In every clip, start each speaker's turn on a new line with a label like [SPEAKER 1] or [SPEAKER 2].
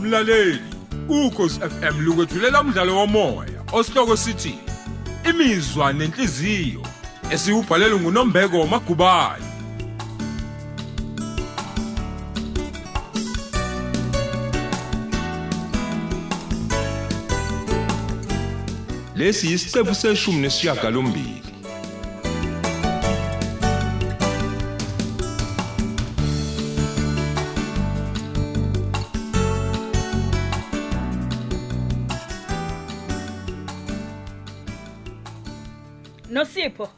[SPEAKER 1] mlaleli ukhosi FM lukwethulela umdlalo womoya osihloko sithi imizwa nenhliziyo esiyubhalelwe nguNombeko Magubane
[SPEAKER 2] lesi isiqephu seshumi nesishiyagalombili
[SPEAKER 3] Nosipho.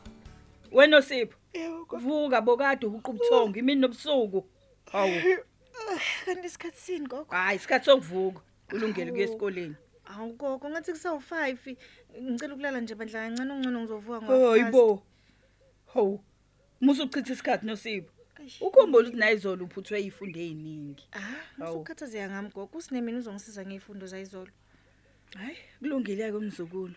[SPEAKER 3] Wena Nosipho.
[SPEAKER 4] Yebo, Nkosi.
[SPEAKER 3] Vuka bokade uhuqa ubuthongo imini nobusuku. Hawu.
[SPEAKER 4] kanti isikhathi sini gogo
[SPEAKER 3] Hayi isikhathi sokuvuka. Ulungele kuye esikoleni.
[SPEAKER 4] hawu gogo ngathi kusawu-five ngicela ukulala nje bandla kancane ungcono ngizovuka
[SPEAKER 3] Hayibo. Hawu. Musu uchitha isikhathi Nosipho. Ukhumbule ukuthi naye izolo uphuthwe izifundo eziningi. Hawu.
[SPEAKER 4] Ah, usukhathazeka ngami gogo usinemina uzongisiza ngey'fundo zayizolo
[SPEAKER 3] Hayi kulungile ke umzukulu.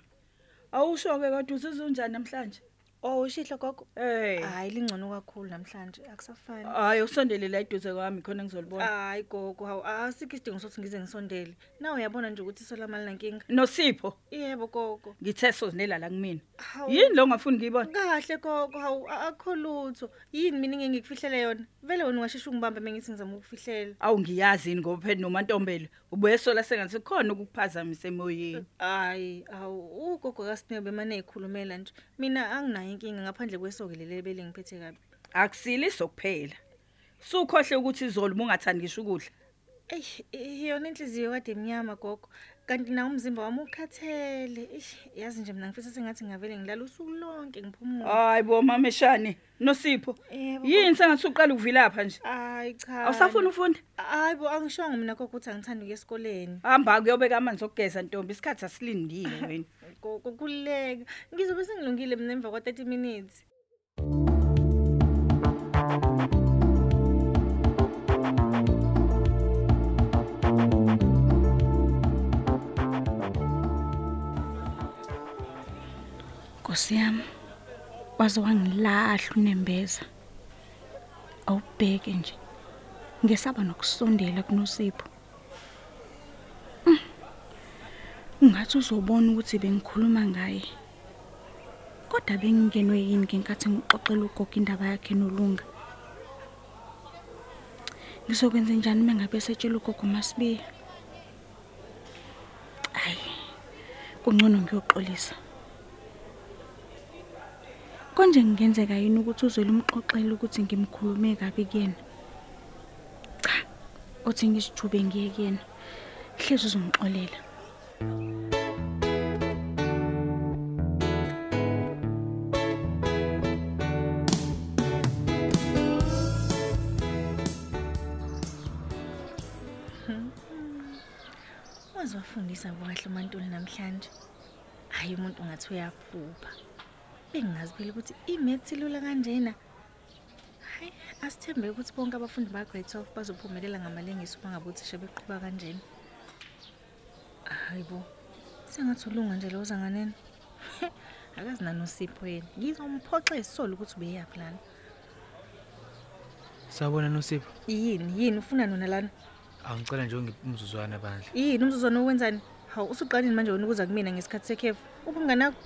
[SPEAKER 3] Awusho ke kade usiza unjani namhlanje?
[SPEAKER 4] oh shihlo gogo
[SPEAKER 3] Eh.
[SPEAKER 4] hhayi lingcono kakhulu namhlanje akusafani
[SPEAKER 3] Hayi usondele la eduze kwami khona ngizolibona.
[SPEAKER 4] Ah, hayi gogo hawu asikho isidingo sokuthi ngize ngisondele nawe uyabona nje ukuthi isolamali nankinga
[SPEAKER 3] Nosipho
[SPEAKER 4] yebo gogo
[SPEAKER 3] ngithe sozinela la kumina.
[SPEAKER 4] hawu
[SPEAKER 3] Yini lo ngafuni ngiyibona?
[SPEAKER 4] kahle gogo hawu a- akho lutho yini mina ngeke ngikufihlele yona vele wena ungasheshe ungibambe mengithi ngizama ukufihlela
[SPEAKER 3] Awu ngiyazi ini ngoba phela nomantombelo ubuye sola sengathi khona ukukuphazamisa emoyeni.
[SPEAKER 4] hayi awu ugogo kasinebe mane ekhulumela nje mina anginayo inkinga ngaphandle kwesokelele belengiphethe kabi
[SPEAKER 3] akusiliso kuphela sukhohle ukuthi izolo ungathandi ngisho ukudla
[SPEAKER 4] eish i- yona inhliziyo kade emnyama gogo kanti nawo umzimba wami ukhathele eish yazi nje mina ngifisa sengathi ngavele ngilala usuku lonke ngiphumule
[SPEAKER 3] hayi bo mameshane nosipho
[SPEAKER 4] Yebo,
[SPEAKER 3] yini sengathi uqala ukuvilapha nje
[SPEAKER 4] hayi cha
[SPEAKER 3] awusafuna ufunda
[SPEAKER 4] hayi bo angishongo mina gogo ukuthi angithandi ukuya esikoleni
[SPEAKER 3] hamba kuyobeka amanzi okugeza ntombi isikhathi asilindile wena
[SPEAKER 4] gogo kululeka ngizobe sengilungile mina emva kwa-30 minutes
[SPEAKER 5] Nkosi yami waze wangilahla unembeza. Awubheke nje. Ngesaba nokusondela kunosipho. Mm. Ungathi uzobona ukuthi bengikhuluma ngaye. Kodwa bengingenwe yini ngenkathi ngixoxela ugogo indaba yakhe nolunga. Ngizokwenza njani mangabe setshela ugogo masibiya? Ayi. Kungcono ngiyoxolisa. konje kungenzeka yini ukuthi uzwele umxoxela ukuthi ngimkhulume kabi kuyena cha uthi ngisijube ngiye kuyena hlezi uzongixolela
[SPEAKER 4] waze wafundisa kahle umantuli namhlanje hhayi umuntu ungathi uyaphupha bengingazi phela ukuthi imethi lula kanjena hayi asithembe ukuthi bonke abafundi ba-grade twelve bazophumelela ngamalengiso uma ngabe uthisha beqhuba kanjena hayi bo sengathi ulunga nje loza nganeni akazi nanosipho yena ngizomphoxa isisolo ukuthi ubeyaphi lana
[SPEAKER 6] Sabona Nosipho.
[SPEAKER 4] yini yini ufuna nona lana
[SPEAKER 6] Angicela nje ungimzuzwana bandla.
[SPEAKER 4] yini umzuzwana owenzani hawu usuqalile manje wena ukuza kumina ngesikhathi sekhefu ubunganakho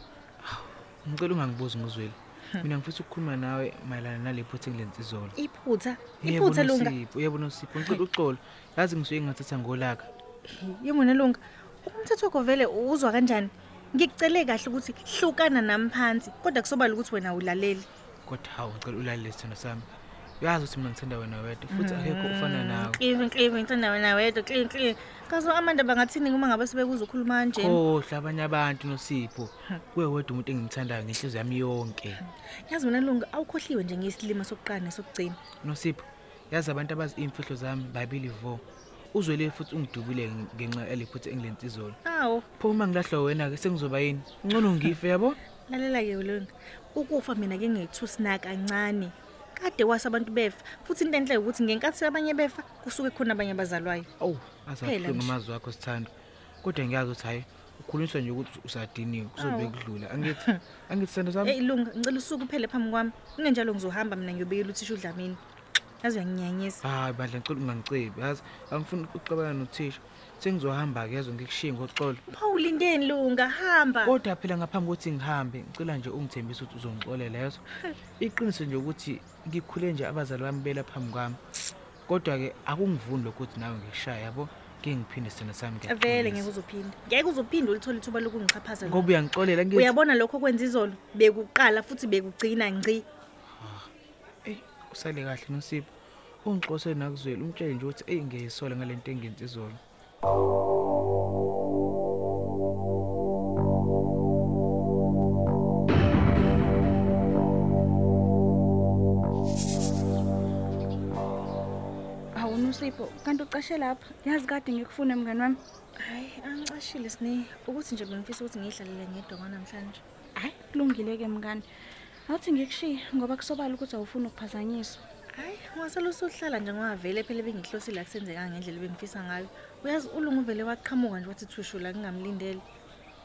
[SPEAKER 6] Ngicela ungangibuzi ngizwele.
[SPEAKER 4] Hmm.
[SPEAKER 6] Mina ngifisa ukukhuluma nawe mayelana nalipho othi ngilenze izolo.
[SPEAKER 4] iphutha
[SPEAKER 6] Yebo,
[SPEAKER 4] iphutha lunga Hmm.
[SPEAKER 6] Nosipho, Yebo Nosipho, ngicela uxolo. Yazi ngisuke ngathatha ngolaka.
[SPEAKER 4] yemona lunga umthetho wakho vele uzwa kanjani ngikucele kahle ukuthi hlukana nami phansi kodwa kusobala ukuthi wena awulaleli
[SPEAKER 6] Kodwa hawu ngicela ulalele sithando sami. Uyazi ukuthi mina ngithanda wena wedwa futhi akekho ofana
[SPEAKER 4] Hmm.
[SPEAKER 6] nawe.
[SPEAKER 4] klive klive ngithanda wena wedwa klive klive kaso amanda bangathini uma ngabe sebekuza ukhuluma kanjeni
[SPEAKER 6] Khohle abanye abantu Nosipho.
[SPEAKER 4] Hmm.
[SPEAKER 6] Kuwe wedwa umuntu engimthandayo ngenhliziyo yami yonke.
[SPEAKER 4] yazi wena lunga awukhohliwe nje ngesilima sokuqala nesokugcina
[SPEAKER 6] Nosipho, yazi abantu abazi imfihlo zami babili vo. Uzwele futhi ungidubule ngenxa yalipho othi ngilenze izolo.
[SPEAKER 4] awu
[SPEAKER 6] Pho uma ngilahlwa wena-ke sengizoba yini? Ngcono ngife yabo?
[SPEAKER 4] lalela-ke lunga ukufa mina ke ngethusina kancane kade wase abantu befa futhi into enhle ukuthi ngenkathi abanye befa kusuke khona abanye abazalwayo
[SPEAKER 6] Awu,
[SPEAKER 4] Phela
[SPEAKER 6] azakhuluma
[SPEAKER 4] nje.
[SPEAKER 6] amazwi akho sithando. Kodwa ngiyazi ukuthi hhayi ukhulunyiswa nje ukuthi usadiniwe kuzobe
[SPEAKER 4] Awu.
[SPEAKER 6] kudlula. Angithi angithi sithando sami?
[SPEAKER 4] eyi lunga ngicela usuke uphele phambi kwami kungenjalo ngizohamba mina ngiyobekela uthisha udlamini yazi uyanginyanyisa
[SPEAKER 6] Hayi bandla ngicela ungangicebi yazi angifuni ukuxabana nothisha sengizohamba ke yezo ngikushiye ngoxolo
[SPEAKER 4] phawulindeni lunga hamba
[SPEAKER 6] kodwa phela ngaphambi kokuthi ngihambe ngicela nje ungithembise ukuthi uzongixolela yezo iqiniso nje ukuthi ngikhule nje abazali bami bela phambi kwami kodwa-ke akungivuni lokhu ukuthi nawe ngikushaya yabo ngike ngiphinde sithanda sami
[SPEAKER 4] vele ngeke uzophinda ngeke uzophinda ulithole ithuba lokungichaphaza
[SPEAKER 6] ngoba uyangixolela ngithi-
[SPEAKER 4] uyabona lokho okwenza izolo bekuqala futhi bekugcina ngci
[SPEAKER 6] eyi usale kahle nosipho ungixosele nakuzwele umtshele nje ukuthi eyi ngiyayisola ngale nto engenzi izolo
[SPEAKER 5] hawu nosipho kanti ucashe lapha yazi kade ngikufuna mngani wami
[SPEAKER 4] hayi angicashile sine ukuthi nje bengifisa ukuthi ngiyidlalele ngedwa kwanamhlanje
[SPEAKER 5] hhayi kulungile-ke mngani awuthi ngikushiye ngoba kusobala ukuthi awufuni ukuphazanyiswa
[SPEAKER 4] hayi ungasele usuhlala nje ngoba vele phela bengihlosile akusenzekanga ngendlela bengifisa ngayo uyazi ulunga uvele waqhamuka nje wathi thushula ngingamlindele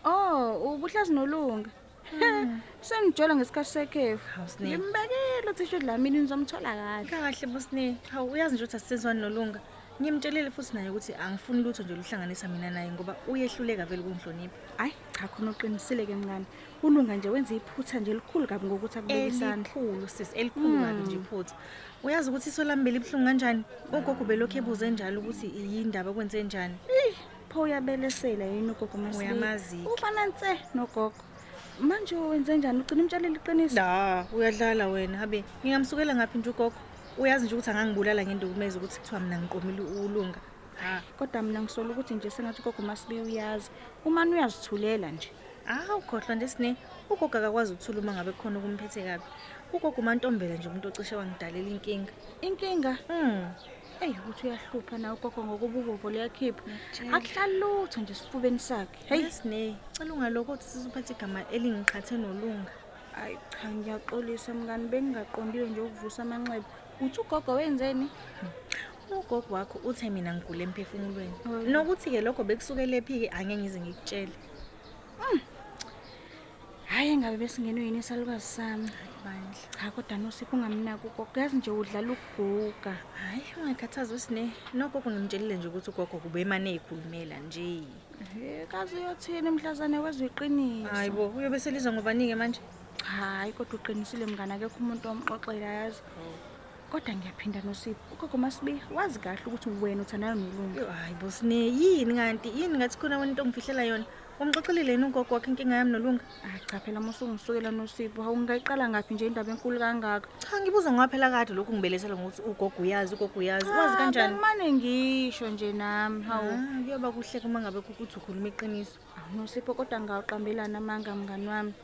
[SPEAKER 5] Oh, ubuhlazi nolunga. Hmm. Sengijola ngesikhathi sekhefu.
[SPEAKER 4] Hawu, Snake.
[SPEAKER 5] Ngimbekile uthisha uDlamini nizomthola kahle.
[SPEAKER 4] kahle bosine hawu uyazi nje ukuthi asisezwani nolunga ngimtshelile futhi naye ukuthi angifuni lutho nje luhlanganisa mina naye ngoba uyehluleka vele ukungihlonipha
[SPEAKER 5] Hayi, cha khona uqinisile ke mngani. Ulunga nje wenze iphutha nje likhulu kabi ngokuthi akubekisana.
[SPEAKER 4] elikhulu sis elikhulu kabi nje iphutha Hmm. uyazi ukuthi iso lami belibuhlungu kanjani ugogo belokhu ebuze njalo ukuthi yindaba kwenze njani
[SPEAKER 5] Pho uyabelesela yini ugogo masibili?
[SPEAKER 4] Uyamazi-ke.
[SPEAKER 5] Ufana nse nogogo. Manje wenze njani? Ugcina umtshalela iqiniso?
[SPEAKER 4] da uyadlala wena habe ngingamsukela ngaphi nje ugogo uyazi nje ukuthi angangibulala ngendukumeza ukuthi kuthiwa mna ngiqomile ulunga ha
[SPEAKER 5] Kodwa mina ngisola ukuthi nje sengathi ugogo masibili uyazi. Umani uyazithulela nje.
[SPEAKER 4] awukhohlwa nje sine ugogo akakwazi ukuthula uma ngabe kukhona okumphethe kabi ugogo umantombela nje umuntu ocishe wangidalela inkinga
[SPEAKER 5] Inkinga
[SPEAKER 4] um
[SPEAKER 5] eyi ukuthi uyahlupha nawe gogo ngokuba ubovo luyakhipha akuhlali lutho nje esifubeni sakhe heyi
[SPEAKER 4] yesine cela ungalokothi sizuphatha igama elingiqhathe nolunga
[SPEAKER 5] ayi cha ngiyaxolisa mngani bengingaqondiwe nje ukuvusa amanxeba uthi ugogo wenzeni
[SPEAKER 4] ugogo wakho uthe mina ngigule emphefumulweni
[SPEAKER 5] Mm.
[SPEAKER 4] nokuthi-ke lokho bekusukelephi-ke angeke ngize ngikutshele
[SPEAKER 5] hhayi engabe besingenwe yini isalukazi sami
[SPEAKER 4] bandla
[SPEAKER 5] cha kodwa nosipho ungamnaki ugogo yazi nje udlala ukuguga
[SPEAKER 4] hhayi ungayikhathazi usine nogogo ngimtshelile nje ukuthi ugogo kube emane eyikhulumela nje
[SPEAKER 5] Eh, kazi uyothini mhlazane wezwe
[SPEAKER 4] hayi
[SPEAKER 5] iqiniso
[SPEAKER 4] bo uyobe selizwa ngobani-ke manje
[SPEAKER 5] hhayi kodwa uqinisile mngani akekho umuntu omxoxela yazi kodwa ngiyaphinda nosipho ugogo masibi wazi kahle ukuthi wena uthandayo nolunga
[SPEAKER 4] Yo, hayi bo sine yini kanti yini ngathi khona wena into ongifihlela yona umxoxelile yini ugogo wakho inkinga yami nolunga
[SPEAKER 5] Hayi Ah, cha phela uma usungisukela nosipho hawu ngingayiqala ngaphi nje indaba enkulu kangaka
[SPEAKER 4] cha ngibuza ngaphela kade lokhu ngibelethela ngokuthi ugogo uyazi ugogo uyazi wazi
[SPEAKER 5] Ah,
[SPEAKER 4] kanjani
[SPEAKER 5] bengimane ngisho nje nami hawu
[SPEAKER 4] Ah, kuyoba kuhleke uma ngabe kukuthi ukhuluma iqiniso
[SPEAKER 5] Hawu, Ah, nosipho kodwa ngingawuqambelana amanga mngani wami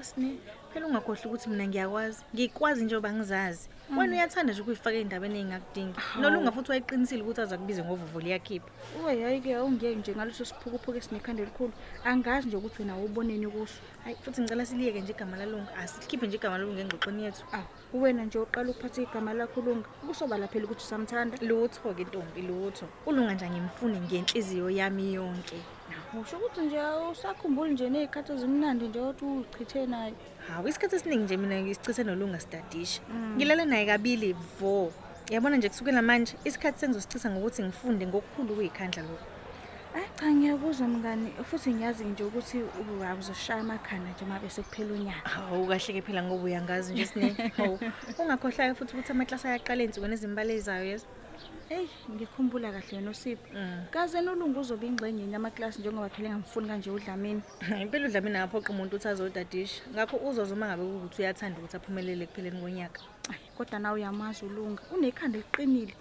[SPEAKER 4] Usine, phela ungakhohlwa ukuthi mina ngiyakwazi. Ngikwazi njengoba ngizazi. Wena uyathanda nje ukuyifaka ey'ndabeni ey'ngakudingi. Nolunga futhi wayeqinisile ukuthi aza kubize ngovovo liyakhipha.
[SPEAKER 5] uwe hhayi-ke awungiye nje ngaleso siphukuphuku esinekhanda elikhulu angazi nje ukuthi wena uboneni kuso
[SPEAKER 4] Hayi futhi ngicela siliyeke nje igama lalunga. Asilikhiphe nje igama lalunga engxoxweni yethu.
[SPEAKER 5] awu uwena nje uqala ukuphatha igama lakho lunga kusobala phela ukuthi usamthanda
[SPEAKER 4] Lutho-ke ntombi lutho. Ulunga nje ngimfune ngenhliziyo yami yonke.
[SPEAKER 5] usho ukuthi nje usakhumbuli nje ney'khathi ezimnandi nje othi uchithe nayo
[SPEAKER 4] Hawu isikhathi esiningi nje mina ngisichithe nolunga sidadisha. Ngilala naye kabili vo. Yabona nje kusukela manje isikhathi sengizosichitha ngokuthi ngifunde ngokukhulu kuyikhandla lokhu.
[SPEAKER 5] hayi cha ngiyakuzwa mngani futhi ngiyazi nje ukuthi awuzoshaya amakhanda nje uma besekuphela unyaka
[SPEAKER 4] hawu kahle-ke phela ngoba uyangazi nje sine hawu ungakhohlwa-ke futhi ukuthi amaklasi ayaqala ey'nsukwini ezimbala ezayo yezo
[SPEAKER 5] eyi ngikhumbula kahle nosipho
[SPEAKER 4] Mm.
[SPEAKER 5] kazeni ulunga uzobe ingxenye yini yamaklasi njengoba phela engamfuni kanje udlamini
[SPEAKER 4] impela udlamini angaphoqa umuntu ukuthi azodadisha ngakho uzoze uma ngabe kuwukuthi uyathanda ukuthi aphumelele ekupheleni konyaka
[SPEAKER 5] Ayi, kodwa nawe uyamazi ulunga unekhanda eliqinile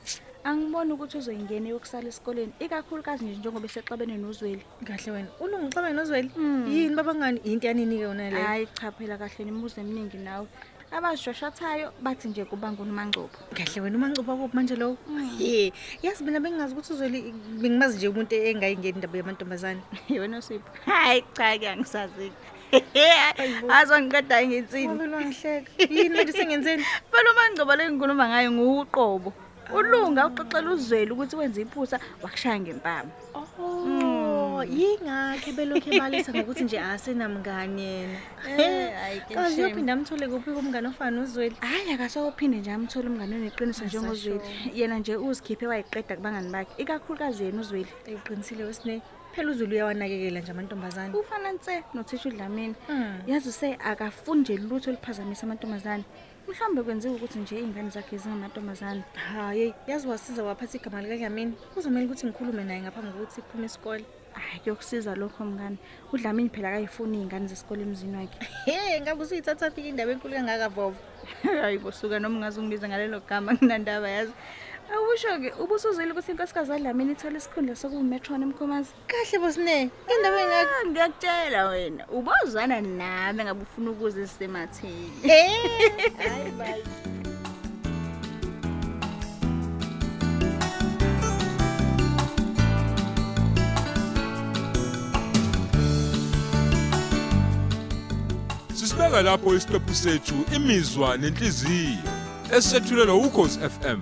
[SPEAKER 5] angiboni ukuthi uzoyingena eyokusala esikoleni ikakhulukazi nje njengoba esexabene nozweli
[SPEAKER 4] kahle wena Hmm. ulungixabane nozweli yini babangani into yanini-ke yona leyo
[SPEAKER 5] hhayi cha phela kahle nemibuzo eminingi nawe abazishoshathayo bathi nje kuba ngunumancopho
[SPEAKER 4] kahle wena uma ngicuba kuphi manje lowo ye yazi mina bengingazi ukuthi uzweli bengimazi nje umuntu engayingeni indaba yamantombazane
[SPEAKER 5] wena usipho hayi cha ke angisazile azongiqedayo ngensini
[SPEAKER 4] abelwa ngihleka yini manje sengenzeni
[SPEAKER 5] phela umangcobo le ngikhuluma ngayo nguwuqobo ulunga uxoxela uzwele ukuthi wenze iphutha wakushaya ngempama
[SPEAKER 4] Oh,
[SPEAKER 7] Hmm.
[SPEAKER 4] yingakhe belokhu ebalisa ngokuthi nje asenamngane yena
[SPEAKER 7] Eh, hhayi, ke
[SPEAKER 4] kazi
[SPEAKER 7] shame.
[SPEAKER 4] uyophinda amthole kuphi kumngane ofana uzweli
[SPEAKER 5] hhayi akasawophinde nje amthole umngane oneqiniso njengozweli yena nje uzikhiphe wayiqeda kubangani bakhe ikakhulukazi yena uzweli
[SPEAKER 4] uqinisile wesine phela uzulu uyawanakekela nje amantombazane
[SPEAKER 5] ufana nse nothisha udlamini
[SPEAKER 7] Hmm.
[SPEAKER 4] Mm.
[SPEAKER 5] yazi use akafundi nje lutho oluphazamisa amantombazane mhlawumbe kwenziwe ukuthi nje iy'ngane zakhe zingamantombazane
[SPEAKER 4] hayi yazi wasiza waphatha igama likadlamini kuzomele ukuthi ngikhulume naye ngaphambi kokuthi kuphume isikole
[SPEAKER 5] hayi kuyokusiza lokho mngane udlamini phela akayifuni iy'ngane zesikole emzini wakhe
[SPEAKER 4] he ngabe usuyithatha fika indaba enkulu kangaka vova
[SPEAKER 5] hayi bosuka noma ungaze ungibize ngalelo gama kunandaba yazi awusho-ke ubusuzwile ukuthi inkosikazi adlamini ithole isikhundla sokuwumetrona emkhomazi
[SPEAKER 4] kahle bosine indaba engaka
[SPEAKER 7] Ah, ngiyakutshela wena ubozwana nami ngabe ufuna ukuze sisematheni
[SPEAKER 1] Sisibeka lapho isiqephu sethu imizwa nenhliziyo esethulelwa ukhozi FM